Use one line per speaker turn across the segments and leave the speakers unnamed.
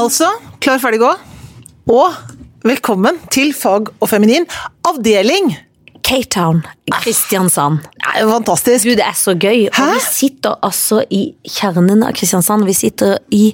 Altså, klar, ferdig, gå. Og velkommen til Fag og feminin, avdeling
Cape Town, Kristiansand.
Nei, Fantastisk.
Du, det er så gøy. Og
Hæ?
vi sitter altså i kjernen av Kristiansand. Vi sitter i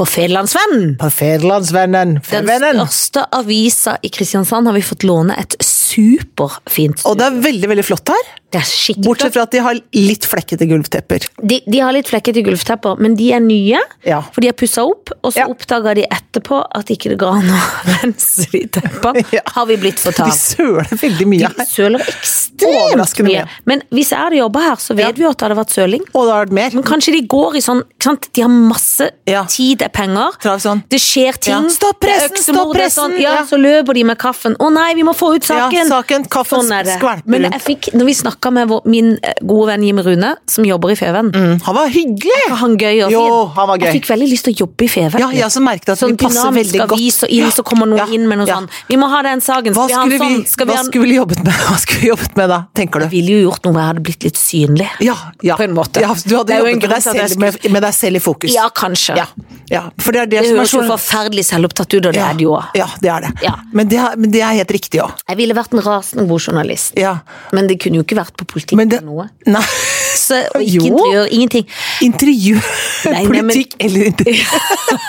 på Fedlandsvennen.
På Federlandsvennen.
Den
Vennen.
største avisa i Kristiansand har vi fått låne et superfint
Og det er veldig veldig flott her,
Det er skikkelig
bortsett fra at de har litt flekkete gulvtepper.
de, de har litt flekkete gulvtepper, men de er nye.
Ja.
For de har pussa opp, og så
Ja.
oppdaga de etterpå at ikke det går an å rense de teppene.
Ja.
Har vi blitt
De
fortalt.
søler veldig mye
De
her.
søler ekstremt
Overraskende
mye.
mye.
Men hvis jeg hadde jobba her, så vet vi jo at det hadde vært søling.
Og det har vært mer.
Men kanskje de går i sånn ikke sant? De har masse
Ja.
tid er penger.
Trav sånn.
Det skjer ting.
Ja. Stopp
Det er
pressen, stopp
øksemord, det er sånn,
pressen,
ja,
ja.
Så løper de med kaffen. Å nei, vi må få ut
Ja,
saken!
saken, kaffen
Sånn er det.
skvalper
Men
rundt.
jeg fikk, når vi snakka med vår, min eh, gode venn Jim Rune, som jobber i Feven
Mm, Han var hyggelig!
Var han gøy og fin?
Jo, han var gøy.
Jeg fikk veldig lyst til å jobbe i Feven.
Ja, jeg også merket at
sånn
vi passer
dynamisk
veldig godt.
avis, og inn, så kommer noen
Ja,
inn med noe
ja.
sånn. Vi må ha den saken.
Hva
Skal vi ha
skulle
en
vi,
sånn? Skal vi
hva
ha en...
skulle vi jobbet med? Hva skulle vi jobbet med da, tenker
Jeg
du?
ville jo gjort noe hvor jeg hadde blitt litt synlig.
Ja, ja.
På en måte.
Ja, du
Det
hadde
er jo
jobbet med
en grunn
deg,
til at jeg
selv, med, med deg selv i fokus.
Ja, kanskje.
Ja, ja. For det er det,
Det
som er
høres jo
så
forferdelig selvopptatt ut, og det
ja,
er det jo òg.
ja, det er det.
Ja.
Men, det er, men det er helt riktig òg.
Jeg ville vært en rasende god journalist.
Ja.
Men det kunne jo ikke vært på politikk
Men det
eller noe.
Nei,
Så, og
Jo.
ikke interiør, ingenting.
intervju,
Nei, nei, men-
politikk eller intervju.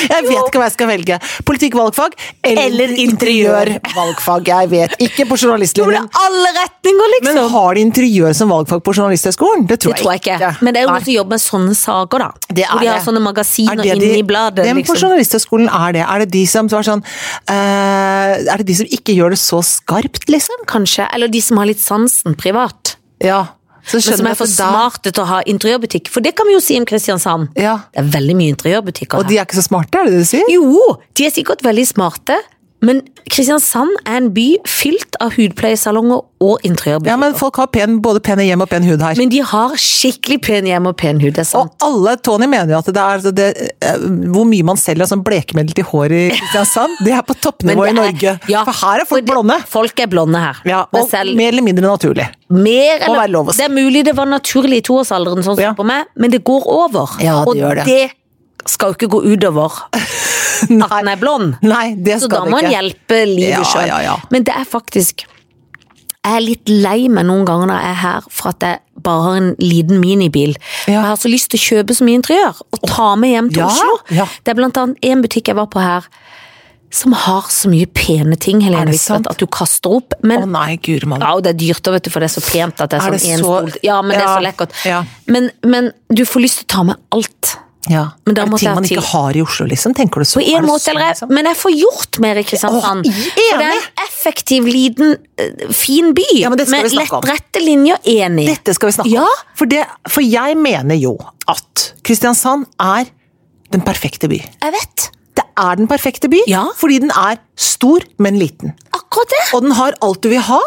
Jeg vet ikke hva jeg skal velge. Politikk valgfag eller,
Eller interiør.
valgfag. Jeg vet ikke på
Jo, det
journalistlinjen.
er alle retninger,
Men
liksom!
har de interiør som valgfag på Journalisthøgskolen? Det tror,
det tror jeg ikke. Men det er jo noen som jobber med sånne saker, da.
Det er
Hvor de har
det. Er
sånne magasiner
det
inne i bladet.
Hvem på
Liksom.
Journalisthøgskolen er det? Er det de som var sånn eh, Er det de som ikke gjør det så skarpt, liksom?
Kanskje. Eller de som har litt sansen privat.
Ja. Så
Men som
skjønner
er
jeg
for
at da
smarte til å ha interiørbutikk. For det kan vi jo si om Kristiansand.
Ja.
Det er veldig mye interiørbutikker
Og de er ikke så smarte, er det det du sier?
Jo, de er sikkert veldig smarte, men Kristiansand er en by fylt av hudpleiesalonger og interiørbutikker.
Ja, men folk har pen, både pene hjem og pen hud her.
Men de har skikkelig pen hjem og pen hud, det er sant.
og alle, Tony mener jo at det er det, eh, hvor mye man selger av sånn blekemiddel til hår i Kristiansand. Det er på
Men
toppnivå
det
i Norge.
er- ja,
for her er folk
det-
blonde.
Folk er blonde her.
Ja,
Men
og
selv,
mer eller mindre naturlig.
mer eller,
være lov å si.
Det er mulig det var naturlig i toårsalderen, sånn som
Ja.
på meg, men det går over.
Ja, det
og
gjør det.
skal jo ikke gå utover at den er blond.
Nei, det
Så
skal
da må
det
en
ikke.
hjelpe livet
Ja,
selv.
ja, ja.
Men det er faktisk Jeg er litt lei meg noen ganger når jeg er her for at jeg bare har en liten minibil.
Ja.
Jeg har så lyst til å kjøpe så mye interiør og ta med hjem til
Ja,
Oslo.
ja.
Det er blant annet en butikk jeg var på her som har så mye pene ting, Helene,
Er det
Visbeth,
sant?
at du kaster opp.
Å
Men
nei, guri malla.
ja, og det er dyrt da, vet du, for det er så pent at det er,
Er det
sånn en
så-
stol. Ja, men det er
Ja,
så lekkert.
ja.
Men, men du får lyst til å ta med alt.
Ja.
Men da
er det
måtte
ting
jeg
man
til-
ikke har i Oslo, liksom? Tenker du så?
På
Er
en
det
måte
sånn,
eller
liksom?
Men jeg får gjort mer i Kristiansand.
Åh,
for det er
enig.
en effektiv, liten, eh, fin by.
Ja, men det skal vi snakke om.
lett rette linjer, enig.
Dette skal vi snakke
Ja.
om. For, det, for jeg mener jo at Kristiansand er den perfekte by.
Jeg vet.
Det er den perfekte by
Ja.
fordi den er stor, men liten.
Akkurat det.
Og den har alt du vil ha,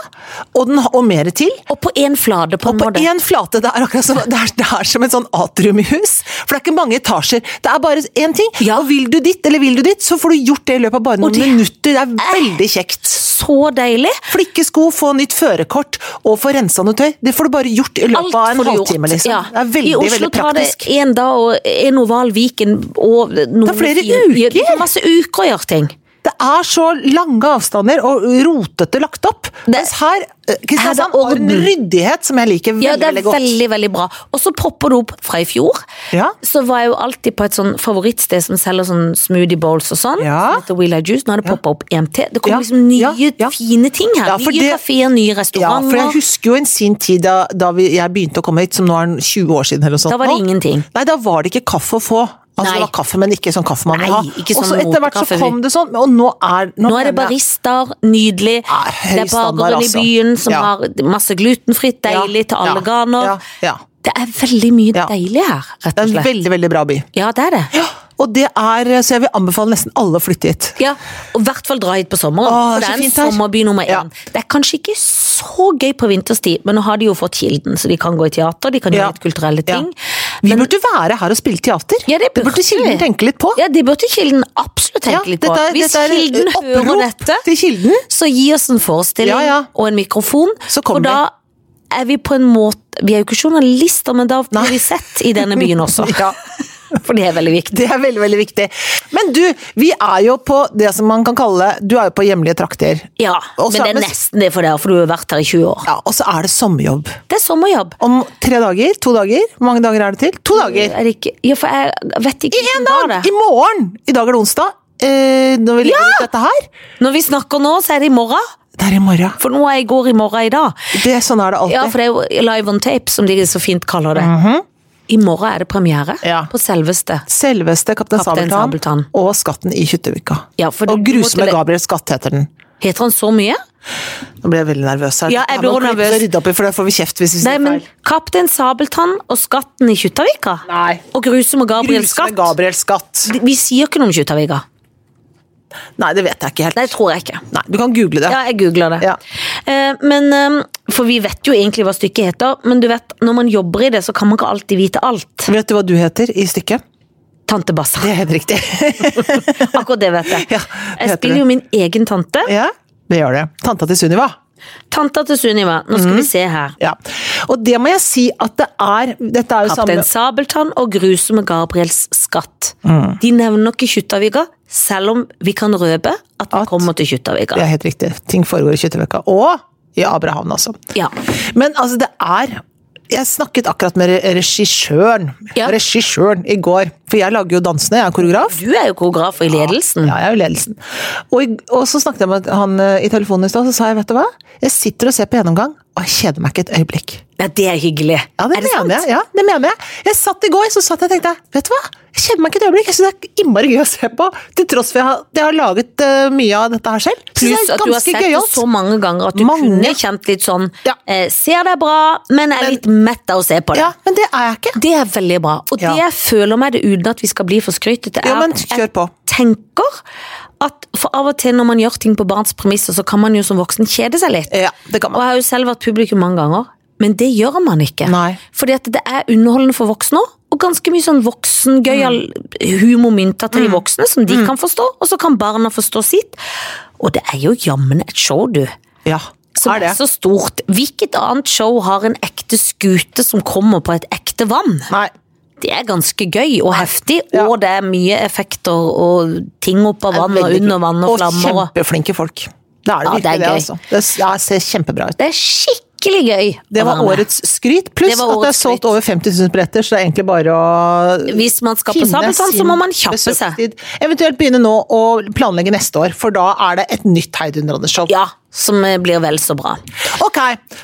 og, den, og mer til.
Og på én flate, på en
På
måte.
én flate. Det er akkurat som, det er, det er som et sånn atrium i hus. For det er ikke mange etasjer. Det er bare én ting.
Ja.
Og vil du dit eller vil du dit, så får du gjort det i løpet av bare noen
det- Eh.
minutter. Det er veldig kjekt.
Så deilig.
Flikke sko, få nytt førerkort og få rensa noe tøy. Det får du bare gjort i løpet
Alt
av en
får du gjort.
halvtime. Liksom.
Ja.
Det er veldig,
I Oslo
veldig
tar det
praktisk.
én dag og en oval Viken og noen
er flere
fire-
uker.
Ja, det er masse uker å gjøre ting.
Det er så lange avstander og rotete lagt opp. Mens her, eh, Kristiansand har en
orden.
ryddighet som jeg liker veldig,
Ja, det er
veldig godt.
veldig, veldig bra. Og så popper det opp fra i fjor.
Ja.
Så var jeg jo alltid på et sånn favorittsted som selger sånn smoothie bowls og sånn.
Ja.
Som heter Willa Juice. Nå har det poppa opp EMT. Det
Ja,
kommer liksom nye,
ja, ja.
fine ting her.
Ja, for
nye
det-
kafeer, nye
Ja, for
restauranter.
jeg husker jo en sin tid da, da vi, jeg begynte å komme hit, som nå er den 20 år siden eller noe sånt.
Da var det
nå.
ingenting.
Nei, da var det ikke kaffe å få. Altså
Nei.
det var kaffe, men ikke sånn kaffe man vil
Nei,
ha.
ikke
og så
sånn
etter hvert så
motekaffe.
kom det sånn, og nå er
nå er det
mener jeg-
baristaer, nydelig.
Ja, høy
det er
standard,
bakeren i
altså.
byen som
Ja.
har masse glutenfritt, deilig til alle
ja,
garner.
Ja, ja.
Det er veldig mye
Ja.
deilig her, rett
Det
og
er en
slett.
veldig, veldig bra by.
Ja, det er det.
Og det er, så jeg vil anbefale nesten alle å flytte hit.
Ja, og i hvert fall dra hit på sommeren.
Åh,
for
det
det
er så
er en
fint her.
sommerby nummer én.
Ja.
Det er kanskje ikke så gøy på vinterstid, men nå har de jo fått Kilden, så de kan gå i teater, de kan
Ja.
gjøre litt kulturelle ting.
Vi burde være her og spille teater.
Ja, det burde
burde Kilden
vi.
tenke litt på.
Ja, det burde Kilden absolutt tenke litt på.
dette er,
Hvis
dette er
Kilden
et
hører
opprop
dette,
til Kilden.
så gi oss en forestilling
Ja, ja.
og en mikrofon.
Så kommer
for da er vi på en måte Vi er jo ikke journalister, men da blir vi sett i denne byen også.
Ja.
For det er veldig viktig.
Det er veldig, veldig viktig. Men du, vi er jo på det som man kan kalle Du er jo på hjemlige trakter.
Ja,
Og så
men det
er
er
det-
nesten det for deg, for du har vært her i 20 år.
Ja, Og så er det sommerjobb.
Det er sommerjobb.
Om tre dager? To dager? Hvor mange dager er det til? To dager!
Er det ikke, ja, for jeg vet ikke
En
hvordan var
dag!
det.
I morgen! I dag er det onsdag. Eh, når vi legger ut dette her.
Når vi snakker nå, så er det i morgen.
Det er i morgen.
For nå er i går i morgen i dag.
Det, sånn er det alltid.
Ja, for det Mhm. er jo live on tape, som de så fint kaller det. I morgen er det premiere
Ja.
på selveste.
Selveste Kaptein,
Kaptein
Sabeltann
Sabeltann.
og Skatten i Kjuttevika.
Ja, for
og
du- du
Grusme
måtte le-
Gabriels skatt heter den.
Heter han så mye?
Nå ble jeg veldig nervøs her.
Ja, jeg
Her
blir
må
også
klippes
nervøs.
og rydde opp i, for det får vi kjeft hvis vi
Nei,
sier
men
feil.
Kaptein Sabeltann og Skatten i Kjuttaviga?
Nei.
Og Grusum og Gabriel
Grusme
Skatt?
Gabriels skatt.
De- Vi sier ikke noe om Kjuttaviga.
Nei, det vet jeg ikke helt.
Nei, tror jeg ikke.
Nei, du kan google det.
Ja, jeg googler det.
Ja.
Eh, Men, eh, for vi vet jo egentlig hva stykket heter, men du vet, når man jobber i det, så kan man ikke alltid vite alt.
Vet du hva du heter i stykket?
Tante Bassa.
Det er helt riktig.
Akkurat det vet jeg.
Ja, det
jeg
heter
spiller
det.
jo min egen tante.
ja, det gjør det. Tanta til Sunniva.
Tanta til Sunniva. Nå skal vi
Mhm.
se her.
Ja. Og det må jeg si at det er Dette er jo
Kaptein
samme
Sabeltann og grusomme Gabriels skatt.
Mm.
De nevner ikke Kjuttaviga, selv om vi kan røpe at vi
At-
kommer til Kjuttaviga.
Det er helt riktig. Ting foregår i Kjøtteveka. Og i Abrahavn, altså.
Ja.
Men altså, det er Jeg snakket akkurat med re- regissøren
Ja.
Regissøren i går. For jeg lager jo dansene, jeg er koreograf.
Du er jo koreograf i ledelsen.
Ja, jeg er jo ledelsen. Og, i- og så snakket jeg med han eh, i telefonen i stad, så sa jeg vet du hva? Jeg sitter og ser på gjennomgang, og jeg kjeder meg ikke et øyeblikk.
Ja, det er hyggelig.
Ja, det,
er det sant?
mener jeg. Ja, det mener jeg. Jeg satt i går så satt jeg og tenkte vet du hva, jeg kjenner meg ikke et øyeblikk. Jeg synes det er innmari gøy å se på, til tross for jeg har, jeg har laget eh, mye av dette her selv. Så det
Pluss
er
at du har
ganske
sett det
gøyalt.
så mange ganger at du
Mange.
kunne kjent litt sånn
Ja.
eh, Ser det bra, men er litt mett av å se på det.
Ja, men det er jeg ikke.
Det er veldig bra. Og
Ja.
det jeg føler meg det uten at vi skal bli for skrytete,
Jo, men
at
kjør på.
jeg tenker at for av og til når man gjør ting på barns premisser, så kan man jo som voksen kjede seg litt.
Ja, det kan
Og
man.
jeg har jo selv vært publikum mange ganger, men det gjør man ikke.
Nei.
Fordi at det er underholdende for voksne òg, og ganske mye sånn voksengøyal
Mm.
humor mynta til de voksne, som de kan forstå, og så kan barna forstå sitt. Og det er jo jammen et show, du.
Ja,
Som
er
er,
det.
så stort. Hvilket annet show har en ekte skute som kommer på et ekte vann?
Nei.
Det er ganske gøy og heftig,
Ja.
og det er mye effekter og ting opp av vann og
Veldig
under vann og flammer.
Og
Og
kjempeflinke folk. Det er det
Ja, det er
virkelig, det.
gøy.
altså. Det s- ja, ser kjempebra ut.
det er skikkelig gøy.
Det
å
var
være med.
årets skryt, pluss
Det var
at det er
årets
solgt
skryt.
over 50 000 billetter, så det er egentlig bare å
Hvis man skal på
finne
Sabeltann, så
sin
må man kjappe seg.
besøkstid. Eventuelt begynne nå å planlegge neste år, for da er det et nytt heidundrende-show.
Ja, som eh, blir vel så bra.
Ok,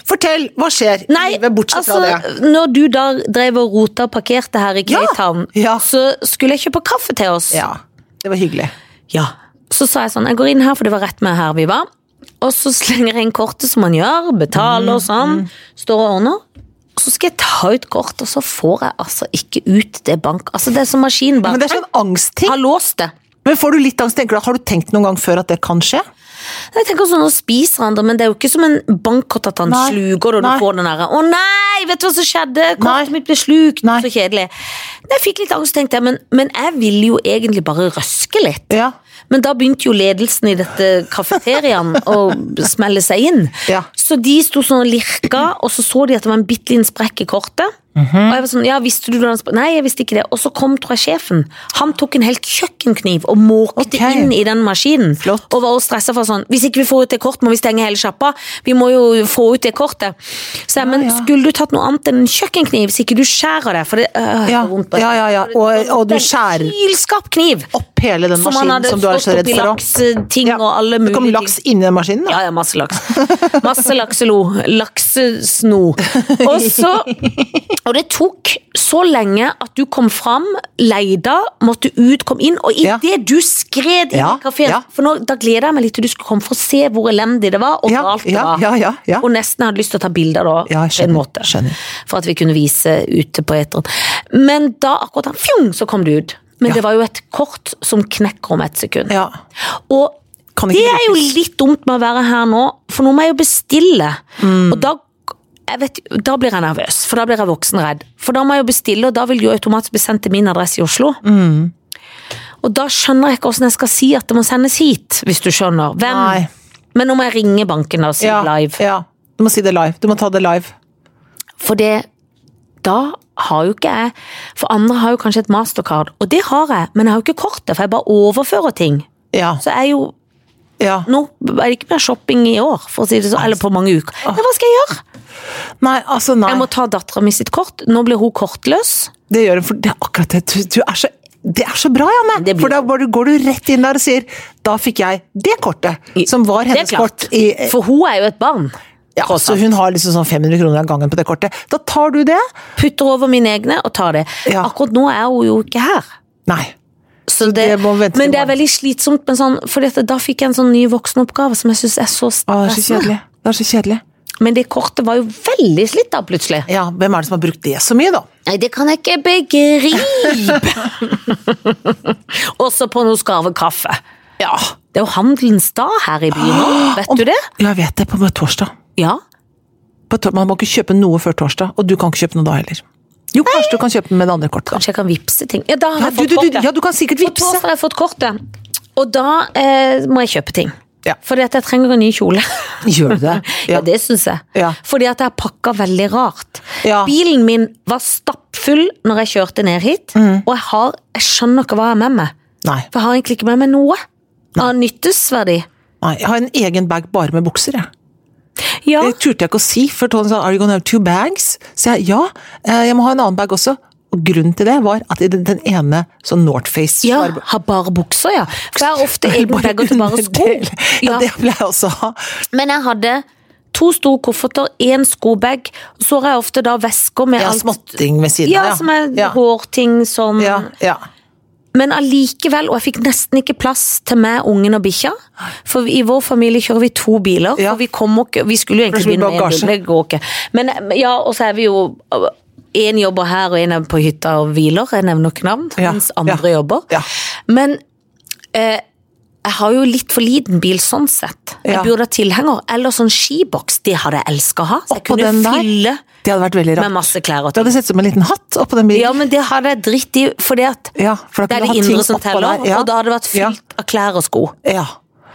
fortell, hva skjer i
Nei,
livet bortsett
altså,
fra det?
når du da drev og rota og parkerte her i
Ja,
Kveithavn,
ja.
så skulle jeg kjøpe kaffe til oss.
Ja, det var hyggelig.
Ja. Så sa jeg sånn, jeg går inn her, for det var rett med her vi var. Og så slenger jeg inn kortet som man gjør, betaler
Mm,
og sånn. Står og ordner. Og så skal jeg ta ut kort, og så får jeg altså ikke ut det bank... Altså, det er som maskinen
Men
bare
det er sånn angstting.
har låst det.
Men får du litt angst, tenker du, har du tenkt noen gang før at det kan skje?
Jeg tenker sånn, Nå spiser han det, men det er jo ikke som en bankkort at han
Nei.
sluker det, og du
Nei.
får den derre 'Å nei, vet du hva som skjedde? Kortet
Nei.
mitt ble slukt.'
Nei.
Så kjedelig. Men Jeg fikk litt angst, tenkte jeg, men, men jeg ville jo egentlig bare røske litt.
Ja.
Men da begynte jo ledelsen i dette kafeteriaen å smelle seg inn.
Ja.
Så de sto sånn og lirka, og så så de at det var en bitte liten sprekk i kortet.
Mhm.
Og jeg var sånn, ja, visste du hvordan spre- Nei, jeg visste ikke det. Og så kom, tror jeg, sjefen. Han tok en helt kjøkkenkniv og måkte
Ok.
inn i den maskinen.
Flott.
Og var også stressa for sånn, hvis ikke vi får ut det kort, må vi stenge hele sjappa. Vi må jo få ut det kortet. Så jeg, men
ja.
skulle du tatt noe annet enn en kjøkkenkniv, hvis ikke du skjærer det? For det øh,
Ja,
det er vondt. bare-
ja, ja, ja. Og, og du
Den
skjærer
Kylskarp kniv!
opp hele den
Som han
maskinen
hadde
som du er så
stått
redd
oppi
for. også.
lakseting og alle
Det kom
mulige
laks
ting.
inn i den maskinen, da?
Ja, ja, masse laks. Masse lakselo. Laksesno. Og så Og det tok så lenge at du kom fram, leida, måtte ut, kom inn, og
Ja.
idet det du skred inn
Ja,
i kafeen
ja.
For nå, da gleda jeg meg litt til du skulle komme for å se hvor elendig det var, og
Ja,
galt det
ja,
var.
ja, ja, ja.
Og nesten hadde lyst til å ta bilder da,
Ja, jeg
på en
skjønner,
måte.
skjønner.
For at vi kunne vise ute på eteren. Men da akkurat da, fjong, så kom du ut. Men
Ja.
det var jo et kort som knekker om ett sekund.
Ja.
Og
Kan
det
ikke
er jo
brukes.
litt dumt med å være her nå, for nå må jeg jo bestille.
Mm.
Og da, jeg vet, da blir jeg nervøs, for da blir jeg voksenredd. For da må jeg jo bestille, og da vil det jo automatisk bli sendt til min adresse i Oslo.
Mm.
Og da skjønner jeg ikke hvordan jeg skal si at det må sendes hit, hvis du skjønner. Hvem?
Nei.
Men nå må jeg ringe banken og si
Ja,
live.
ja. Du må si det live. Du må ta det live.
For det, da har jo ikke jeg For andre har jo kanskje et mastercard, og det har jeg, men jeg har jo ikke kortet, for jeg bare overfører ting.
Ja.
Så jeg er jo
ja.
Nå er det ikke mer shopping i år, for å si det sånn, eller på mange uker. Ja, hva skal jeg gjøre?
Nei, altså, nei.
Jeg må ta dattera mi sitt kort. Nå blir hun kortløs.
Det gjør hun, for det er akkurat det. Du, du er så, det er så bra, Janne!
Det blir-
For da bare går du rett inn der og sier 'da fikk jeg det kortet', som var
Det er
hennes
klart.
kort. I,
For hun er jo et barn.
ja, så hun har liksom sånn 500 kroner av gangen på det kortet. Da tar du det.
Putter over mine egne og tar det.
Ja.
Akkurat nå er hun jo ikke her.
Nei.
Så
det må vente til
men det er
morgen.
veldig slitsomt. Men sånn, for dette, da fikk jeg en sånn ny voksenoppgave som jeg syns er så
Å, det er så
stressende.
kjedelig. Det er så kjedelig.
Men det kortet var jo veldig slitt da, plutselig.
Ja, hvem er det som har brukt det så mye, da?
Nei, det kan jeg ikke begripe! Også på noe skarve kaffe.
Ja.
Det er jo handelens dag her i byen nå, vet du det?
Ja, jeg vet det. På på torsdag.
Ja.
På tor man må ikke kjøpe noe før torsdag, og du kan ikke kjøpe noe da heller. Jo, kanskje du kan kjøpe den med det andre kortet. da.
Kanskje jeg kan vippse ting. Ja, da har
Ja,
jeg
du, du,
fått
du,
kortet.
ja, du kan sikkert
På
vippse.
torsdag har jeg fått kortet, og da eh, må jeg kjøpe ting.
Ja.
Fordi at jeg trenger en ny kjole.
Gjør du det?
Ja,
Ja.
det syns jeg.
Ja.
Fordi at jeg har pakka veldig rart.
Ja.
Bilen min var stappfull når jeg kjørte ned hit,
Mhm.
og jeg, har, jeg skjønner ikke hva jeg har med meg.
Nei.
For jeg har egentlig ikke med meg noe av nyttesverdi.
Nei. Jeg har en egen bag bare med bukser, jeg.
Ja,
Det turte jeg ikke å si, for Tony sa 'are you gonna have two bags?' Så jeg ja, eh, jeg må ha en annen bag også. Og grunnen til det var at i den, den ene sånn Northface
ja har bare bukser, ja. For jeg har ofte
var
egne bager til bare sko.
underdel. Ja, det vil jeg også ha.
Men jeg hadde to store kofferter, én skobag, og så har jeg ofte da vesker med
Ja,
alt
småtting ved siden
Ja,
av.
som er
ja.
hårting sånn.
Ja, ja.
Men allikevel, og jeg fikk nesten ikke plass til meg, ungen og bikkja. For i vår familie kjører vi to biler,
Ja.
for vi kom ikke Vi skulle jo
det
egentlig
blir
begynne med en
bagasje.
bil, det går ikke. Men ja, og så er vi jo Én jobber her, og én er på hytta og hviler, jeg nevner ikke navn.
Ja,
Mens andre
ja,
jobber.
ja.
Men eh, jeg har jo litt for liten bil sånn sett.
Ja.
Jeg burde ha tilhenger, eller sånn skiboks. Det hadde jeg elska å ha. Så jeg
Oppå den
kunne
der?
fylle
Det hadde vært veldig
med
rart.
masse klær
Det
og ting.
hadde sett ut som en liten hatt oppå den bilen.
Ja, men det hadde jeg dritt i, fordi at
Ja, for
det
da
er
kunne du
det
ha ting
indre som
oppå
teller,
der, ja.
og da hadde det vært
Ja.
fylt av klær og sko.
Ja.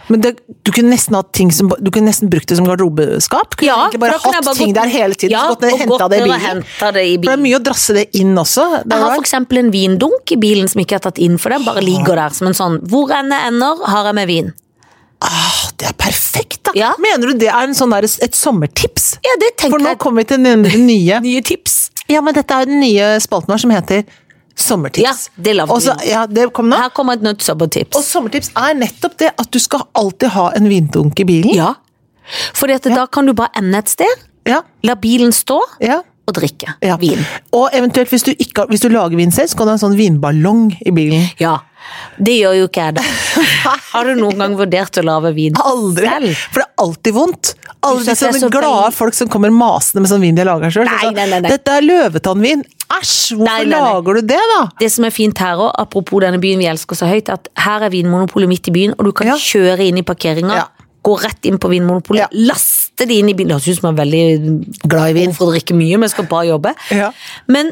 Men det, du kunne nesten hatt ting som, du kunne nesten brukt det som garderobeskap. Kunne egentlig
da
bare
kunne jeg
hatt
bare
ting
gått-
der hele tiden.
Ja,
så gått ned,
og
hentet
gått
det i
ned og
bilen.
hentet det i
For det er
bilen.
mye å drasse det inn også. Det
Jeg
er
har
jo-
for eksempel en vindunk i bilen som ikke er tatt inn for den, bare ligger der som en sånn Hvor enn jeg ender, har jeg med vin.
Ah, det er perfekt, da!
Ja.
Mener du det er en sånn der, et sommertips?
Ja, det
For
tenker
nå
jeg.
kommer vi til den nye
Nye tips.
Ja, men dette er den nye spalten vår som heter Sommertips.
Ja, det lovte
Og så-
vi.
Ja, det kom nå.
Her kommer et
Og
nøddsabbertips.
sommertips er nettopp det at du skal alltid ha en vindunk i bilen.
Ja. For da kan du bare ende et sted,
Ja,
la bilen stå
ja,
og drikke
ja.
vin.
Og eventuelt, hvis du, ikke, har- hvis du lager vin selv, så kan du ha en sånn vinballong i bilen.
Ja. Det gjør jo ikke jeg, da. Har du noen gang vurdert å lage vin?
Aldri!
Selv?
For det er alltid vondt. Alle de
Du synes det er
sånne
så
glade
deilig.
folk som kommer masende med sånn vin de har laga sjøl.
Nei, nei, nei, nei.
Dette er løvetannvin! Æsj! Hvorfor
Nei, nei, nei.
lager du det, da?
det som er fint her også, apropos denne byen vi elsker så høyt, at her er Vinmonopolet midt i byen, og du kan
Ja.
kjøre inn i parkeringa,
Ja.
gå rett inn på Vinmonopolet,
Ja.
laste de inn i bilen. Det høres ut som jeg er veldig
Glad i vin.
for å drikke mye, men jeg skal bare jobbe.
Ja.
Men,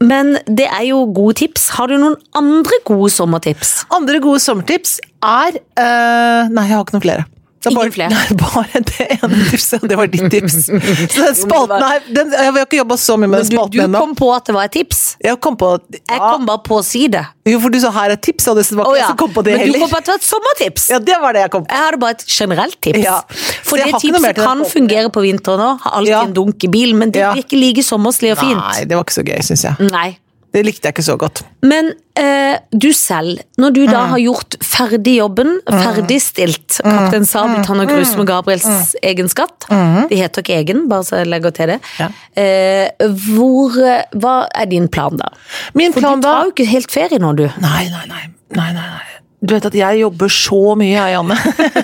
men det er jo gode tips. Har du noen andre gode sommertips?
Andre gode sommertips er eh, Nei, jeg har ikke noen flere. Det er
Ingen
bare,
flere?
Nei, bare det ene tipset, og det var ditt tips. Så den spalten
var-
her den, Jeg har ikke jobba så mye med den
Du, du
spalten ennå.
kom på at det var et tips.
Jeg kom på
Jeg
ja,
kom bare på å si det.
Jo, for du sa 'her er tips', og det var ikke
Å
jeg
ja.
som kom på det
Men du
heller.
kom på at det var et sommertips.
Ja, det var det jeg kom på.
Jeg hadde bare et generelt tips.
Ja. Så
For
jeg
det
har ikke noe mer til
tipset
den
kan
spalten.
fungere på vinteren òg. Har alltid
Ja.
en dunk i bilen, men det
Ja.
blir ikke like sommerslig og fint.
Nei, det var ikke så gøy, syns jeg.
Nei.
Det likte jeg ikke så godt.
Men eh, du selv, når du
Mm.
da har gjort ferdig jobben, ferdigstilt Kaptein
Mm.
Sabeltann og Grus med Gabriels egen skatt De heter ikke egen, bare så jeg legger til det.
Ja.
Eh, hvor, eh, hva er din plan da?
Min
For
plan
du
da
tar jo ikke helt ferie nå, du.
Nei, nei, nei. nei, nei, nei. Du vet at jeg jobber så mye, jeg,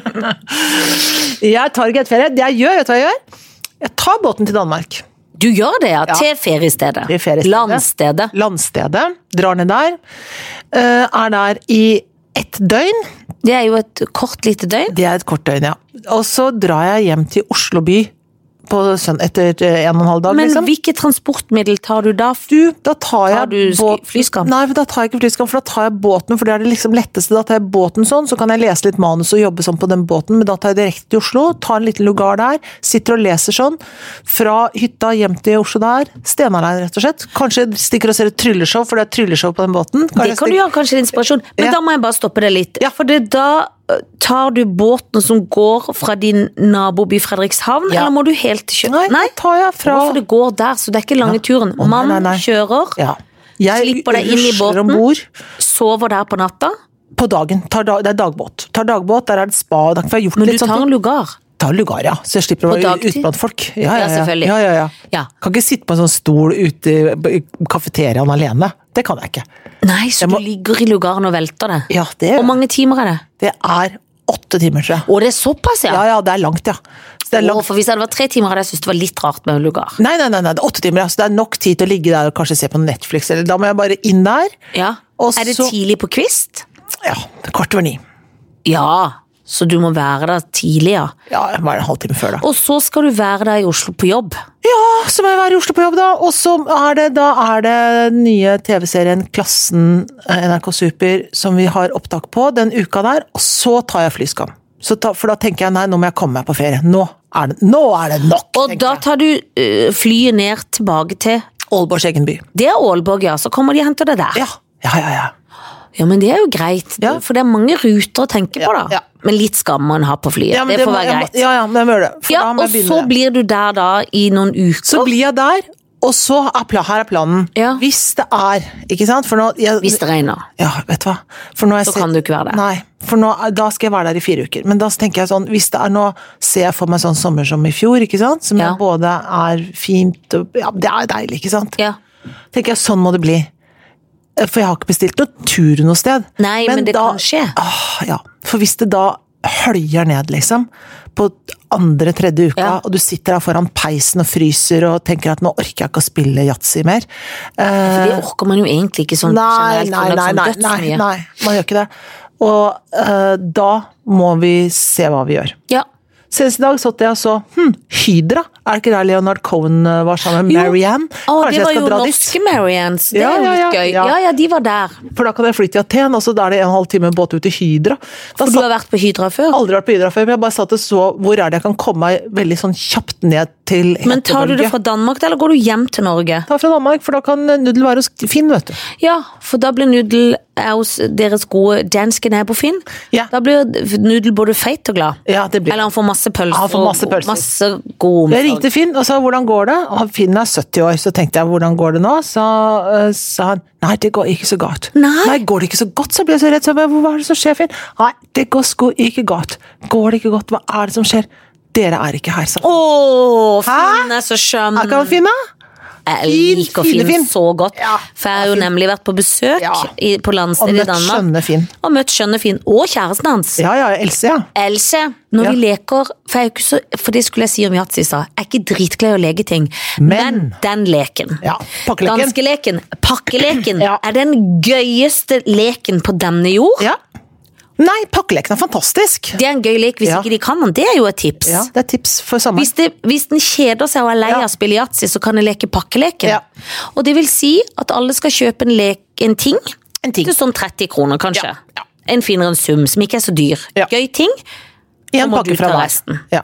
Janne. jeg tar ikke et ferie. Det jeg gjør, vet du hva jeg gjør? Jeg tar båten til Danmark.
Du gjør det, ja. Til feriestedet.
Til feriestedet.
Landstedet.
Landstedet. Drar ned der. Eh, Er der i ett døgn.
Det er jo et kort lite døgn.
Det er et kort døgn, ja. Og så drar jeg hjem til Oslo by på søndag etter eh, en og en halv dag,
Men
liksom.
hvilket transportmiddel tar du da?
du, da tar jeg
Tar du sk-
båt-
flyskam?
Nei, for da tar jeg ikke flyskam, for da tar jeg båten, for det er det liksom letteste. Da tar jeg båten sånn, så kan jeg lese litt manus og jobbe sånn på den båten, men da tar jeg direkte til Oslo, tar en liten lugar der, sitter og leser sånn. Fra hytta hjem til Oslo der, Stenarein rett og slett. Kanskje stikker og ser et trylleshow, for det er trylleshow på den båten.
Det kan du gjøre, kanskje det er inspirasjon. Men
Ja.
da må jeg bare stoppe det litt. For det, da eh, tar du båten som går fra din naboby Fredrikshavn,
Ja.
eller må du helt til
Nei,
København?
da tar jeg fra...
For det går der, så det er ikke lange turen.
Å, nei,
Mann
nei, nei.
kjører,
Ja. Jeg
Slipper deg inn i
rusler
båten.
ombord.
sover der på natta,
På dagen. Tar da, det er dagbåt. Tar dagbåt, der er det spa. og da- For jeg har gjort
men
litt
du tar
sånn.
en lugar.
tar lugar, ja. Så jeg slipper å
På
være
dagtid?
ute blant folk. Ja, ja,
Ja,
ja.
selvfølgelig.
Ja, ja, ja.
Ja.
Kan ikke sitte på en sånn stol ute i i kafeteriaen alene. Det kan jeg ikke.
Nei, så du ligger i lugaren og velter det.
Ja, det,
Hvor mange timer er det?
det er åtte timer, tror jeg.
Å, det er såpass, ja!
Ja, ja, det er langt, ja. Så det er
Å,
langt.
for Hvis det hadde vært tre timer, hadde jeg syntes det var litt rart med en lugar.
Nei, nei, nei, nei, det er åtte timer, ja. Så det er nok tid til å ligge der og kanskje se på Netflix, eller da må jeg bare inn der.
Ja.
Og
er det
så-
tidlig på kvist?
Ja, kvart over ni.
Ja, så du må være der tidlig, ja.
Ja, bare en halvtime før, da.
Og så skal du være der i Oslo på jobb.
Ja, så må jeg være i Oslo på jobb, da! Og så er det da er det den nye TV-serien Klassen eh, NRK Super som vi har opptak på den uka der, og så tar jeg flyskam. Så ta, for da tenker jeg nei, nå må jeg komme meg på ferie. Nå er det, nå er det nok!
Og da tar du eh, flyet ned tilbake til
Aalborgs egen by.
Det er Aalborg, ja. Så kommer de og henter deg der.
Ja, ja, ja. ja.
Ja, men det er jo greit,
Ja.
for det er mange ruter å tenke på, da.
ja.
Men litt skam må en ha på flyet.
ja men
det, får
må-
være
jeg må-
greit.
Ja, ja, men jeg må gjøre det. For
Ja,
da må
og
jeg begynne.
så blir du der da i noen uker.
Så blir jeg der, og så er pla- her er planen.
Ja.
Hvis det er Ikke sant? For nå jeg,
Hvis det regner.
Ja, vet du hva. For nå har jeg
Så kan du ikke være der.
Nei, for nå, da skal jeg være der i fire uker. Men da tenker jeg sånn, hvis det er nå, ser jeg for meg sånn sommer som i fjor, ikke sant? Som
Ja.
er både er fint og Ja, det er deilig, ikke sant?
Ja.
Tenker jeg, sånn må det bli. Eh, For jeg har ikke bestilt noen tur noe sted.
Nei, men det kan skje.
Åh, ja. For hvis det da høljer ned, liksom, på andre-tredje uka,
Ja.
og du sitter der foran peisen og fryser og tenker at nå orker jeg ikke å spille yatzy mer. Eh,
For det orker man jo egentlig ikke sånn
Nei,
generelt.
nei,
for det
nei,
er
nei,
sånn
nei,
dødsmye.
nei, man gjør ikke det. Og eh, da må vi se hva vi gjør.
Ja.
Senest i dag satt jeg og så hm, Hydra. Er det ikke der Leonard Cohen eh, var sammen med Marianne?
Å,
Kanskje
det
jeg
var jo
skal dra dit?
norske Marians. Det
Ja,
er jo
ja,
litt
ja,
gøy.
ja.
Ja, ja, de var der.
For da kan jeg fly til Aten, og så da er det en og en halv time båt ut til Hydra. Da
For du
satt
har vært på Hydra før.
jeg aldri vært på Hydra før, men jeg bare satt og så hvor er det jeg kan komme meg veldig sånn kjapt ned til
Men tar du det
Heteborg.
fra Danmark, eller går du hjem til Norge?
Ta fra Danmark, for da kan eh, Nudel være hos Finn, vet du.
Ja, for da blir Nudel er hos deres gode danske nabo Finn.
Ja.
Da blir Nudel både feit og glad.
Ja, det blir
Eller han får masse pølser.
Han får masse
og
pølser.
masse god
Jeg
omsorg.
ringte Finn og sa hvordan går det? Og Finn er 70 år, så tenkte jeg hvordan går det nå? Så eh, sa han nei, det går ikke så godt.
Nei?
går det ikke så godt? Så ble jeg så redd. Så jeg bare, hva er det som skjer, Finn? Nei, det går sko ikke godt. Går det ikke godt? Hva er det som skjer? Dere er ikke her, sa han.
Å, Finn er så skjønn.
Er ikke han Finn, da?
Mm. Jeg
Fin,
liker
fine
Finn,
Finn.
så godt.
Ja,
For jeg har jo nemlig vært på besøk
Ja.
i, på
Og
landsstedet i
møtt
Danmark.
skjønne Finn.
Og møtt skjønne Finn. Og kjæresten hans.
Ja ja, Else, ja.
Else, når
Ja.
vi leker for, jeg er jo ikke så, for det skulle jeg si om yatzy i stad. Jeg er ikke dritglad i å leke ting, men,
Men-
den leken.
Ja, pakkeleken.
Danskeleken. Pakkeleken
Ja.
er den gøyeste leken på denne jord.
ja. Nei, pakkeleken er fantastisk.
Det er en gøy lek hvis
Ja.
ikke de kan den. Det er jo et tips.
Ja, det er tips for sommeren.
Hvis, det, hvis den kjeder seg og er lei av
Ja.
å spille yatzy, så kan den leke pakkeleken.
Ja.
Og det vil si at alle skal kjøpe en, lek, en ting.
En ting.
til sånn 30 kroner, kanskje.
Ja. Ja.
En finere enn sum, som ikke er så dyr.
Ja.
Gøy ting.
En
må du
pakke fra
ta
hver.
resten.
Ja.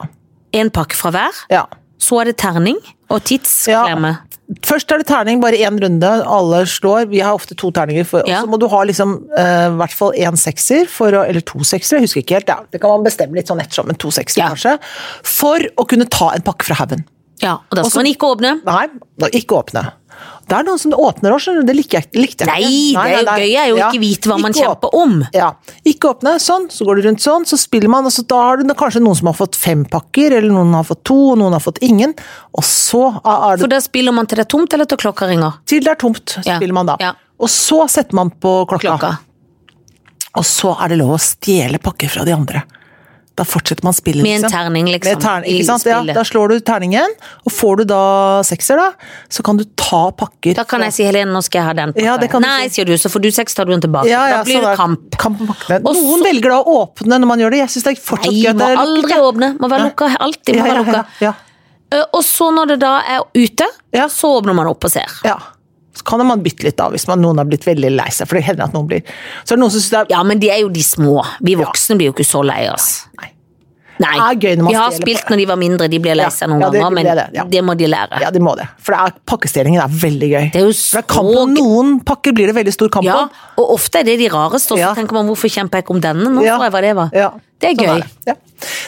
En pakke fra hver.
ja.
Så er det terning og tidsklemme.
Først er det terning, bare én runde. Alle slår. Vi har ofte to terninger. For,
Ja.
Og så må du ha liksom, eh, i hvert fall én sekser, for å, eller to seksere, jeg husker ikke helt. Ja. Det kan man bestemme litt sånn ettersom, men to seksere
Ja.
kanskje. For å kunne ta en pakke fra haugen.
Ja. og da skal man ikke åpne.
Nei, da, ikke åpne. Det er noen som åpner òg, skjønner du. Det liker jeg- likte jeg
Nei, det er jo gøy er jo ikke vite hva man
åpne.
kjemper om.
Ja. Ikke åpne, sånn, så går du rundt sånn, så spiller man, og så da har du kanskje noen som har fått fem pakker, eller noen har fått to, og noen har fått ingen, og så er det
For da spiller man til det er tomt eller til klokka ringer.
Til det er tomt,
Ja.
spiller man da.
Ja.
Og så setter man på klokka.
Klokka.
Og så er det lov å stjele pakker fra de andre. Da fortsetter man spillet.
Med en terning, liksom,
Med terning,
i
ikke sant? Ja,
spillet.
da slår du terningen, og får du da sekser, da, så kan du ta pakker.
Da kan jeg si Helene, nå skal jeg ha den.
Ja, det kan du
Nei,
si.
sier du, så får du seks, tar du den tilbake.
ja, ja,
da blir
sånn
det
er-
kamp.
kamp om pakkene.
Og
Noen
så-
velger da å åpne når man gjør det. Jeg syns det er fortsatt
Nei,
gøy. at
må
det er lukket.
aldri åpne. Må være lukka. Alltid må
Ja, ja,
være
ja,
lukka.
ja.
Eh, Og så når det da er ute,
Ja.
så åpner man opp og ser.
Ja. Så kan man bytte litt, da, hvis man, noen har blitt veldig lei seg. For det hender at noen blir Så er det noen som syns det er
Ja, men de er jo de små. Vi voksne blir jo ikke så lei oss.
Nei.
Nei.
Det er gøy når man
Vi har
stjeler på
spilt
det.
når de var mindre, de ble lei
Ja,
seg noen
ja, det-
ganger, men
det er
det,
det, ja.
må de lære.
Ja, de må det. For det er, pakkestjelingen er veldig gøy.
Det er jo
For det er kamp
så
om
gøy.
noen pakker blir det veldig stor kamp
Ja,
om.
og ofte er det de rareste, og så
Ja.
tenker man hvorfor kjemper jeg ikke om denne, nå tror jeg hva det var.
Ja.
Det er
Sånn
gøy.
det. Ja.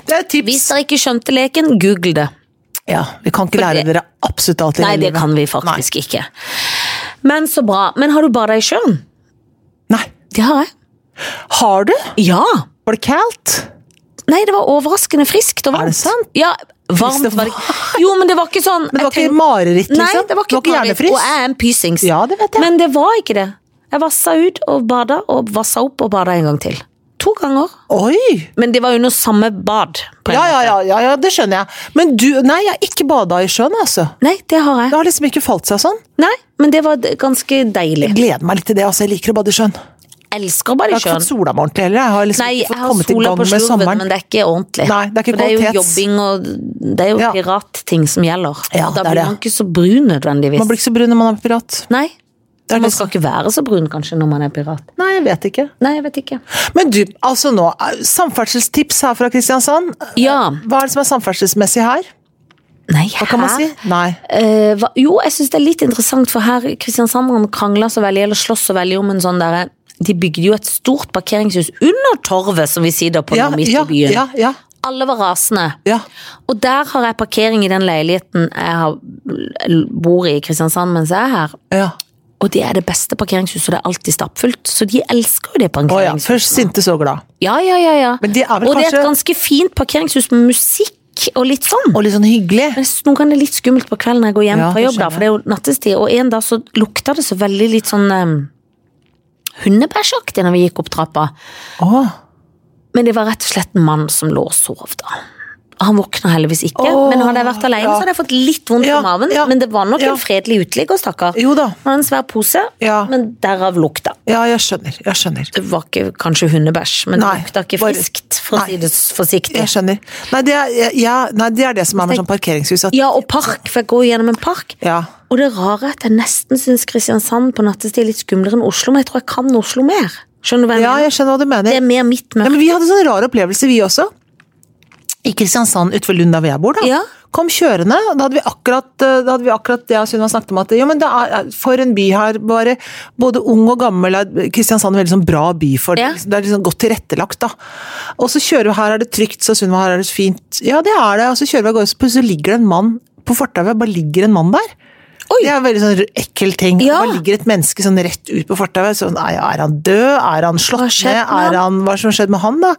det er et tips.
Hvis dere ikke skjønte leken, google det.
Ja, vi kan ikke lære
det-
dere absolutt alt i
Nei,
hele
det
livet.
kan vi faktisk ikke. Men så bra. Men har du bada i sjøen?
Nei.
Det har jeg.
Har du?
Ja.
Var det kaldt?
Nei, det var overraskende friskt og
Er
varmt.
det sant?
Ja, varmt
Friskt og
var det ikke. Jo, men det var ikke sånn
Men det var ikke
jeg tenk-
mareritt, liksom?
Nei, det var ikke,
det var
mareritt,
ikke
Og jeg
hjernefrys?
er en pysings.
Ja, det vet jeg.
Men det var ikke det. Jeg vassa ut og bada, og vassa opp og bada en gang til. To ganger.
Oi!
Men det var under samme bad. på en
Ja,
måte.
ja, ja, ja, ja, det skjønner jeg. Men du Nei, jeg har ikke bada i sjøen, altså.
Nei, det har
Det
jeg.
har liksom ikke falt seg sånn.
Nei, men det var d- ganske
Jeg
deilig.
gleder meg litt til det, altså. Jeg liker å bade i sjøen. Jeg
Jeg elsker å bade i
har ikke
sjøen.
fått sola meg ordentlig heller. Jeg har liksom
Nei,
ikke
jeg
fått
har
kommet i
sola
gang
på
med
slurven,
sommeren.
men det er ikke ordentlig.
Nei, det er ikke
For det er
kvalitet.
jo jobbing og det er jo
Ja.
piratting som gjelder.
Ja,
da
det er
blir
det.
man ikke så brun nødvendigvis.
Man blir ikke så brun når man er pirat.
Nei,
Det er liksom-
man
det som-
skal ikke være så brun kanskje når man er pirat.
Nei, jeg vet ikke.
Nei, jeg vet ikke.
Men du, altså nå. Samferdselstips her fra Kristiansand.
Ja,
Hva er det som er samferdselsmessig her?
nei,
Hva kan man
her-
si? Nei.
Eh, hva, jo, jeg syns det er litt interessant, for her kristiansanderne krangler så veldig, eller slåss så veldig om en sånn derre De bygde jo et stort parkeringshus under torvet som vi sitter på
Ja,
nå midt
ja,
i byen.
ja, ja,
Alle var rasende.
ja.
Og der har jeg parkering i den leiligheten jeg har, bor i i Kristiansand mens jeg er her.
ja.
Og det er det beste parkeringshuset, og det er alltid stappfullt. Så de elsker jo det
Å ja.
parkeringshuset.
Først sinte, så glad.
Ja, ja, ja, ja.
Men det er vel
og det er
kanskje-
et ganske fint parkeringshus med musikk og litt sånn.
Og litt sånn hyggelig.
Men s- noen ganger er det litt skummelt på kvelden når jeg går hjem
Ja,
fra
det
jobb, da,
skjønner
for det er jo nattestid. Og en dag så lukta det så veldig litt sånn um, hundebæsjaktig når vi gikk opp trappa.
Å,
Men det var rett og slett en mann som lå og sov da. Han våkna heldigvis ikke,
Åh,
men hadde jeg vært alene
ja.
så hadde jeg fått litt vondt
Ja,
i maven.
ja,
men det var nok
ja.
en fredelig uteligger, stakkar.
Jo da.
Han hadde en svær pose,
Ja.
men derav lukta.
Ja, jeg skjønner. Jeg skjønner.
Det var ikke kanskje hundebæsj, men
Nei,
det lukta ikke
bare-
friskt, for å
Nei.
si det s- forsiktig.
Jeg skjønner. Nei, det er, jeg- ja, nei, det, er det som er med sånn parkeringshus. At,
Ja, og park, for jeg går gjennom en park.
ja.
Og det rare er at jeg nesten syns Kristiansand på nattestid er litt skumlere enn Oslo, men jeg tror jeg kan Oslo mer. Skjønner du hva jeg
ja,
mener?
jeg skjønner hva du
Det
mener.
er mer mitt
Ja,
mørke.
men vi hadde sånn rar opplevelse, vi også. I Kristiansand utenfor Lund, der hvor jeg bor. da.
Ja.
Kom kjørende. og Da hadde vi akkurat, eh, da hadde vi akkurat det jeg og Sunniva snakket om. at jo, men det er, eh, For en by her. bare Både ung og gammel. er Kristiansand er en veldig sånn bra by. for
Ja.
Det er liksom godt tilrettelagt. da. Og så kjører vi, her er det trygt, så Sunniva, her er det fint. Ja, det er det. Og så kjører vi av gårde, så plutselig ligger det en mann på fortauet. Bare ligger en mann der.
Oi!
Det er en veldig sånn ekkel ting.
Ja.
Bare ligger et menneske sånn rett ut på fortauet. Sånn, nei, er han død? Er han slått
Hva har skjedd
ned?
med
Er han, hva er det som har skjedd med han, da?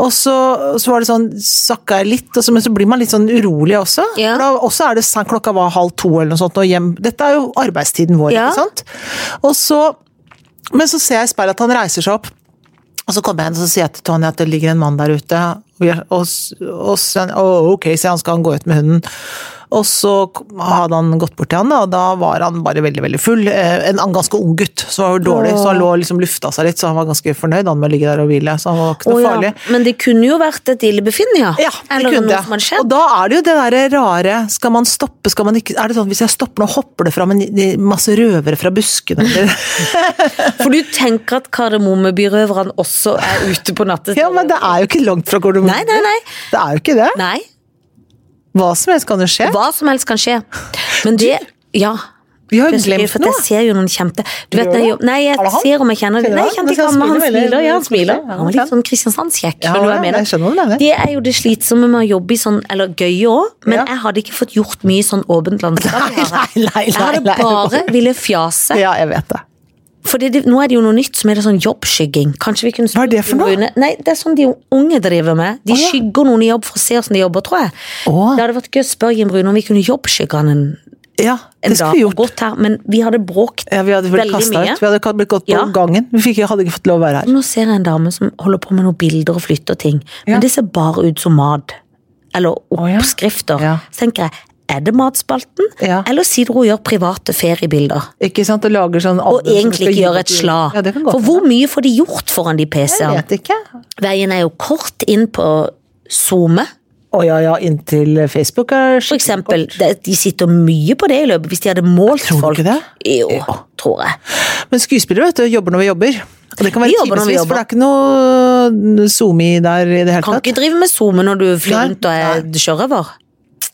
Og så, så var det sånn, sakka jeg litt, og så, men så blir man litt sånn urolig også.
Ja.
For da også er det sant, klokka var halv to eller noe sånt, og hjem. Dette er jo arbeidstiden vår,
Ja.
ikke sant? Og så, men så ser jeg i speilet at han reiser seg opp. Og så kommer jeg inn og så sier jeg til Tonje at det ligger en mann der ute. Og, jeg- og, s- og så sier han, «Å, ok, sier han, skal han gå ut med hunden? Og så kom- hadde han gått bort til han, da, og da var han bare veldig veldig full. Eh, En, en ganske ung gutt som var jo dårlig, så han lå og liksom lufta seg litt, så han var ganske fornøyd han med å ligge der og hvile. Så han var ikke noe
Å, ja.
farlig.
Men det kunne jo vært et illebefinnende, ja.
Ja, det
Eller
kunne
noe
jeg.
som hadde skjedd.
Og da er det jo det derre rare Skal man stoppe, skal man ikke Er det sånn hvis jeg stopper nå, hopper det fram en en masse røvere fra buskene? eller?
For du tenker at kardemommebyrøverne også er ute på nattestid?
ja, men det er jo ikke langt fra Gordomon.
Nei, nei, nei.
Det er jo ikke det.
Nei,
Hva som helst kan jo skje.
hva som helst kan skje. Men det Ja.
Vi har jo
Det er så gøy,
glemt
for at
noe.
jeg ser jo noen kjente du vet,
Gjør
når jeg,
du?
jobb- Nei, jeg
Er det han?
ser om jeg kjenner
Kjenner
dem.
du
Nei, jeg
han?
kjente
Men
ikke
skal
han, men han
han smile, eller?
smiler. Ja, han
Ja,
smiler. Han var litt
sant.
sånn Kristiansandskjekk.
Ja,
skjønner du hva
ja,
jeg mener?
jeg skjønner hva du mener.
Det er jo det slitsomme med å jobbe i sånn, eller gøy òg, men
Ja.
jeg hadde ikke fått gjort mye sånn åpent landskap.
Nei, nei, nei,
Jeg hadde
nei, nei.
bare ville fjase.
Ja, jeg vet det.
For det, nå er det jo noe nytt som er det sånn jobbskygging. Kanskje vi kunne
Hva er det for noe?
Rune- Nei, Det er sånn de unge driver med. De
Å, ja.
skygger noen i jobb for å se hvordan de jobber, tror jeg.
Å.
Det hadde vært gøy å spørre Jim Rune om vi kunne jobbskygge han en,
Ja,
en
det
dag.
skulle vi
og
gjort.
gått her, men vi hadde bråkt
Ja, vi hadde blitt
veldig
kastet
mye.
ut. Vi hadde blitt gått på
Ja.
gangen. Vi fikk, hadde ikke fått lov å være her.
Nå ser jeg en dame som holder på med noen bilder og flytter ting. Men
Ja.
det ser bare ut som mat. Eller
ja.
oppskrifter.
Ja.
Så tenker jeg, er det matspalten?
Ja.
Eller sier hun gjør private feriebilder?
Ikke sant, Og lager sånn
Og egentlig ikke gjør et slag.
Ja, det kan gå
For hvor mye får de gjort foran de
Jeg
PC-ene?
vet ikke.
Veien er jo kort inn på SoMe.
Å ja, ja, inntil Facebook er
For eksempel, det, de sitter mye på det i løpet, hvis de hadde målt
Tror du
folk.
ikke det?
Jo, tror jeg.
Men skuespillere vet du, jobber når vi jobber. Og det kan
Vi
være
jobber når vi
timevis, for
jobber.
det er ikke noe zoomi der i det hele
Kan
tatt.
ikke drive med zoome når du flyr
Nei,
rundt og er sjørøver.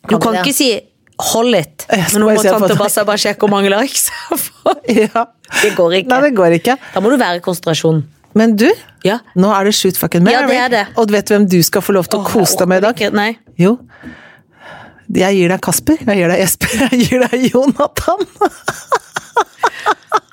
Du
Kan
kan
det.
ikke si 'hold it',
Jeg skal
men nå
bare
må
se på
tante
det.
Bassa bare sjekke hvor mange likes jeg får.
Ja.
Det går ikke.
Nei, det går ikke.
Da må du være i konsentrasjon.
Men du,
Ja.
nå er det Shoot Fucking Mary.
Ja, det er det.
Og vet du hvem du skal få lov til å kose deg med i dag?
Ikke- Nei.
Jo. Jeg gir deg Kasper, jeg gir deg Esper, jeg gir deg Jonathan.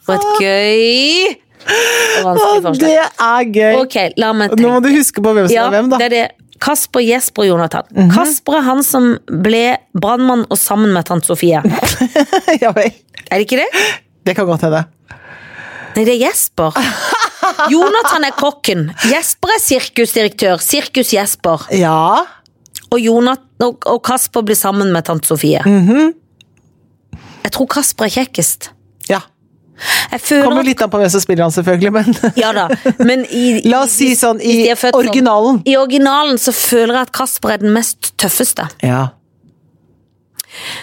For et gøy og vanskelig
Og Ah.
forslag.
det er gøy!
sånn. Ok, la meg
Nå må
tenke.
du huske på hvem som
Ja,
er hvem, da.
det er det. Kasper, Jesper og Jonathan. Kasper er han som ble brannmann og sammen med tante Sofie. Er
ja vel.
det ikke det?
Det kan godt hende.
Nei, det er Jesper. Jonathan er kokken. Jesper er sirkusdirektør. Sirkus Jesper.
Ja.
Og, Jonat- og, og Kasper blir sammen med tante Sofie.
Mm. Mhm.
Jeg tror Kasper er kjekkest.
ja.
Jeg føler
Kommer
at
litt an på hvem som spiller han, selvfølgelig, men
Ja da, men i,
La oss si sånn
hvis
i
de er født sånn.
originalen.
i originalen så føler jeg at Kasper er den mest tøffeste.
Ja.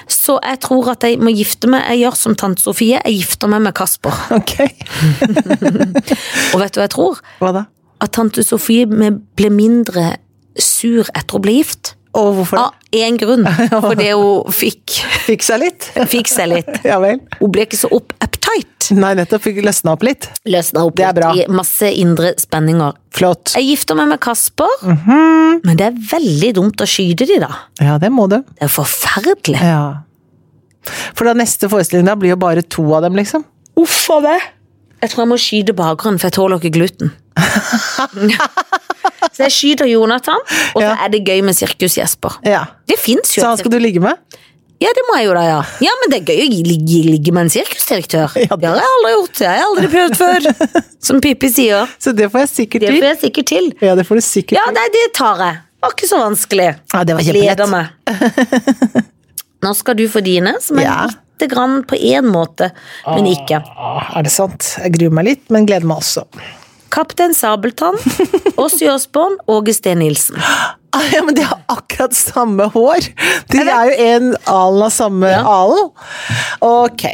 Så jeg tror at jeg må gifte meg. Jeg gjør som tante Sofie, jeg gifter meg med Kasper.
Ok.
Og vet du hva jeg tror?
Hva da?
At tante Sofie ble mindre sur etter å bli gift.
Og hvorfor
Av én grunn. Fordi hun fikk,
Fikk seg litt?
fikk seg litt.
Ja vel.
Hun ble ikke så opp uptight.
Nei, nettopp. Fikk løsna opp litt.
Løsna opp
Det er bra.
litt i masse indre spenninger.
Flott.
Jeg gifter meg med Kasper,
Mhm.
men det er veldig dumt å skyte de da.
Ja, det må du.
Det er forferdelig.
Ja. For da neste forestilling da blir jo bare to av dem, liksom.
Uff a meg. Jeg tror jeg må skyte bakeren, for jeg tåler ikke gluten. så jeg skyter Jonathan, og så
Ja.
er det gøy med Sirkus Jesper.
Ja.
Det fins jo.
Så
et
han skal du ligge med?
Ja, det må jeg jo da, ja. Ja, men det er gøy å gi- ligge, ligge med en sirkusdirektør.
Ja, det-
det har jeg aldri gjort, det har jeg aldri prøvd før. Som Pippi sier.
Så det får jeg sikkert
Det
til.
får jeg sikkert til.
Ja, det får du sikkert
Ja, nei, det tar jeg. Det var ikke så vanskelig.
Ja, det var kjempelett.
Gleder meg. Nå skal du få dine, som er
Ja.
lite grann på én måte, men ikke.
Ah, Er det sant? Jeg gruer meg litt, men gleder meg også.
Kaptein Sabeltann, Åssi Osborn, Åge Steen Nilsen.
Ah, Ja, men de har akkurat samme hår! De er jo en alen av samme alen. Ok.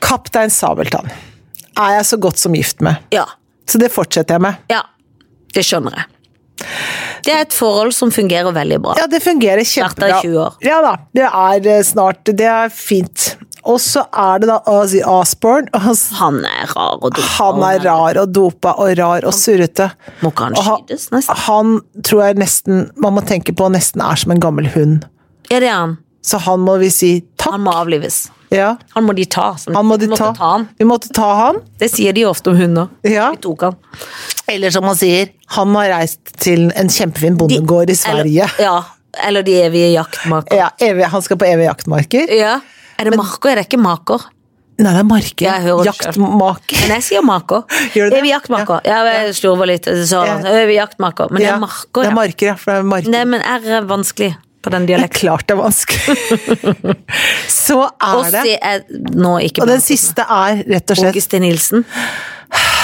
Kaptein Sabeltann er jeg så godt som gift med,
Ja.
så det fortsetter jeg med.
Ja. Det skjønner jeg. Det er et forhold som fungerer veldig bra.
Ja, det fungerer
Vært
kjempebra.
der i 20 år.
Ja da, det er eh, snart Det er fint. Og så er det da Ozzy Osbourne. og s-
Han er rar og dum.
Han er rar og dopa og rar og surrete.
Må ikke han
Og han-
skytes, nesten?
Han tror jeg nesten man må tenke på nesten er som en gammel hund.
Ja, det er han.
Så han må vi si takk.
Han må avlives.
Ja,
Han må de ta. som-
han må de
måtte
ta.
ta han.
Vi måtte ta han.
Det sier de ofte om hunder.
Ja.
Vi tok han.
Eller som han sier, han har reist til en kjempefin bondegård i Sverige.
Eller, ja, eller de evige jaktmaker. Ja.
Ja, evig, han skal på evige jaktmarker.
Er det marker? Er det ikke maker?
Nei, det er marker.
Jeg hører det Men
Jaktmaker.
jeg sier maker.
Gjør du det?
Evig jaktmaker. Ja, jeg slurver litt. Så,
Ja.
evig jaktmaker. Men det er marker,
Det
ja.
er marker, ja. For det er marker.
Nei, men R er vanskelig på den
Det er
dialekten.
klart det er vanskelig. Så er det.
Åssi er nå ikke
Og den
blant oss.
siste er rett og slett
Augustin Nilsen.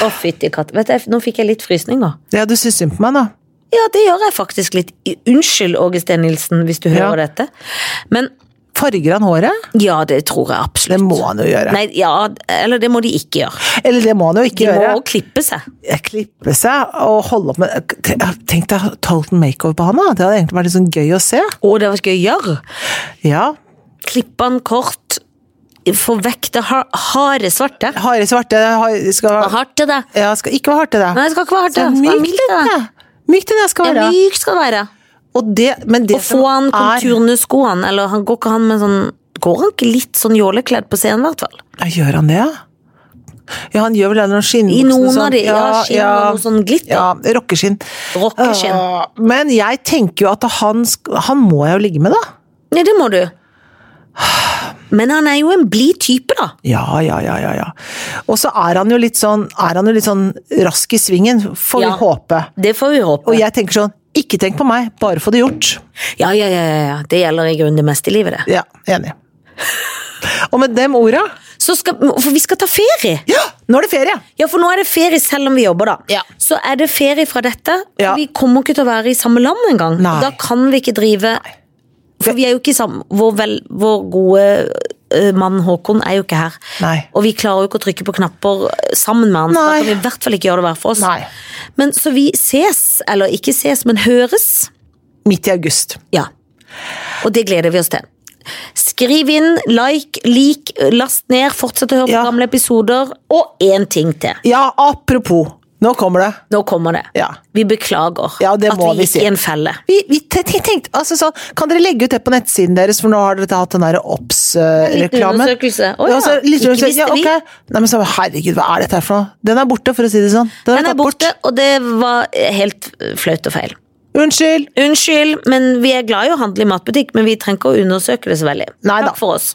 Å, fytti katt. Vet du, jeg- nå fikk jeg litt frysninger.
Ja, du syns synd på meg, da.
Ja, det gjør jeg faktisk litt. Unnskyld, Åge Steen Nilsen, hvis du
Ja.
hører dette. Men
Farger han håret?
ja, det tror jeg absolutt.
Det må han jo gjøre.
Nei, ja, eller det må de ikke gjøre.
Eller det må han jo ikke
De må
gjøre.
også klippe seg.
Klippe seg og holde opp med Tenk deg total makeover på han, da. Det hadde egentlig vært litt sånn gøy å se.
Å, det var gøy å gjøre.
Ja.
Klippe han kort. Få vekk det har harde svarte.
Harde svarte har-
Hva
skal,
hardt er det?
ja, skal ikke være hardt til
Nei,
deg.
det skal ikke være hardt.
Så
Det skal være
mykt
mildt.
til
Det.
deg. Mykt til deg skal
Ja,
være.
mykt skal det være.
Og det, men det
Og få han konturene skoene, eller han går ikke han med sånn Går han ikke litt sånn jålekledd på scenen, i hvert fall?
Ja, Gjør han det, ja? Ja, han gjør vel det noen skinnbukser
I noen
sånn.
av de. Ja, skinn og noe sånn glitter.
Ja, rockeskinn.
Rockeskinn.
Ah, Men jeg tenker jo at han, sk- han må jeg jo ligge med, da.
Ja, det må du. Men han er jo en blid type, da.
Ja, ja, ja, ja. ja. Og så er han jo litt sånn, er han jo litt sånn rask i svingen, får
Ja.
vi håpe.
Det får vi håpe.
Og jeg tenker sånn, ikke tenk på meg, bare få det gjort.
Ja, ja, ja, ja, ja. Det gjelder i grunnen det meste i livet, det.
Ja, enig. Og med dem orda,
Så skal, for vi skal ta ferie!
Ja! Nå er det ferie!
Ja, for nå er det ferie selv om vi jobber, da.
Ja.
Så er det ferie fra dette. for
Ja.
Vi kommer ikke til å være i samme land engang.
Nei.
Da kan vi ikke drive For vi er jo ikke i samme Vår, vel, vår gode eh, mann Håkon er jo ikke her.
Nei.
Og vi klarer jo ikke å trykke på knapper eh, sammen med han. så
Nei.
Da kan vi i hvert fall ikke gjøre det hver for oss.
Nei.
Men Så vi ses, eller ikke ses, men høres.
Midt i august.
Ja. Og det gleder vi oss til. Skriv inn, like, lik, last ned, fortsett å høre på
Ja.
gamle episoder. Og én ting til.
Ja, apropos. Nå kommer det.
Nå kommer det.
Ja.
Vi beklager
Ja, det
at
må
vi
vi
gikk
si.
i en felle.
Vi, vi te- te- tenkte, altså sånn, Kan dere legge ut det på nettsiden deres, for nå har dere hatt den der eh,
En liten
OBS-reklamen?
undersøkelse. Å ja, ikke visste
ja,
vi.
ok. Nei, men så, herregud, hva er dette her for noe? Den er borte, for å si det sånn. Den er
Den er
tatt bort.
borte, og det var eh, helt eh, flaut og feil.
Unnskyld!
Unnskyld, men vi er glad i å handle i matbutikk, men vi trenger ikke å undersøke det så veldig.
Nei da.
Takk for oss.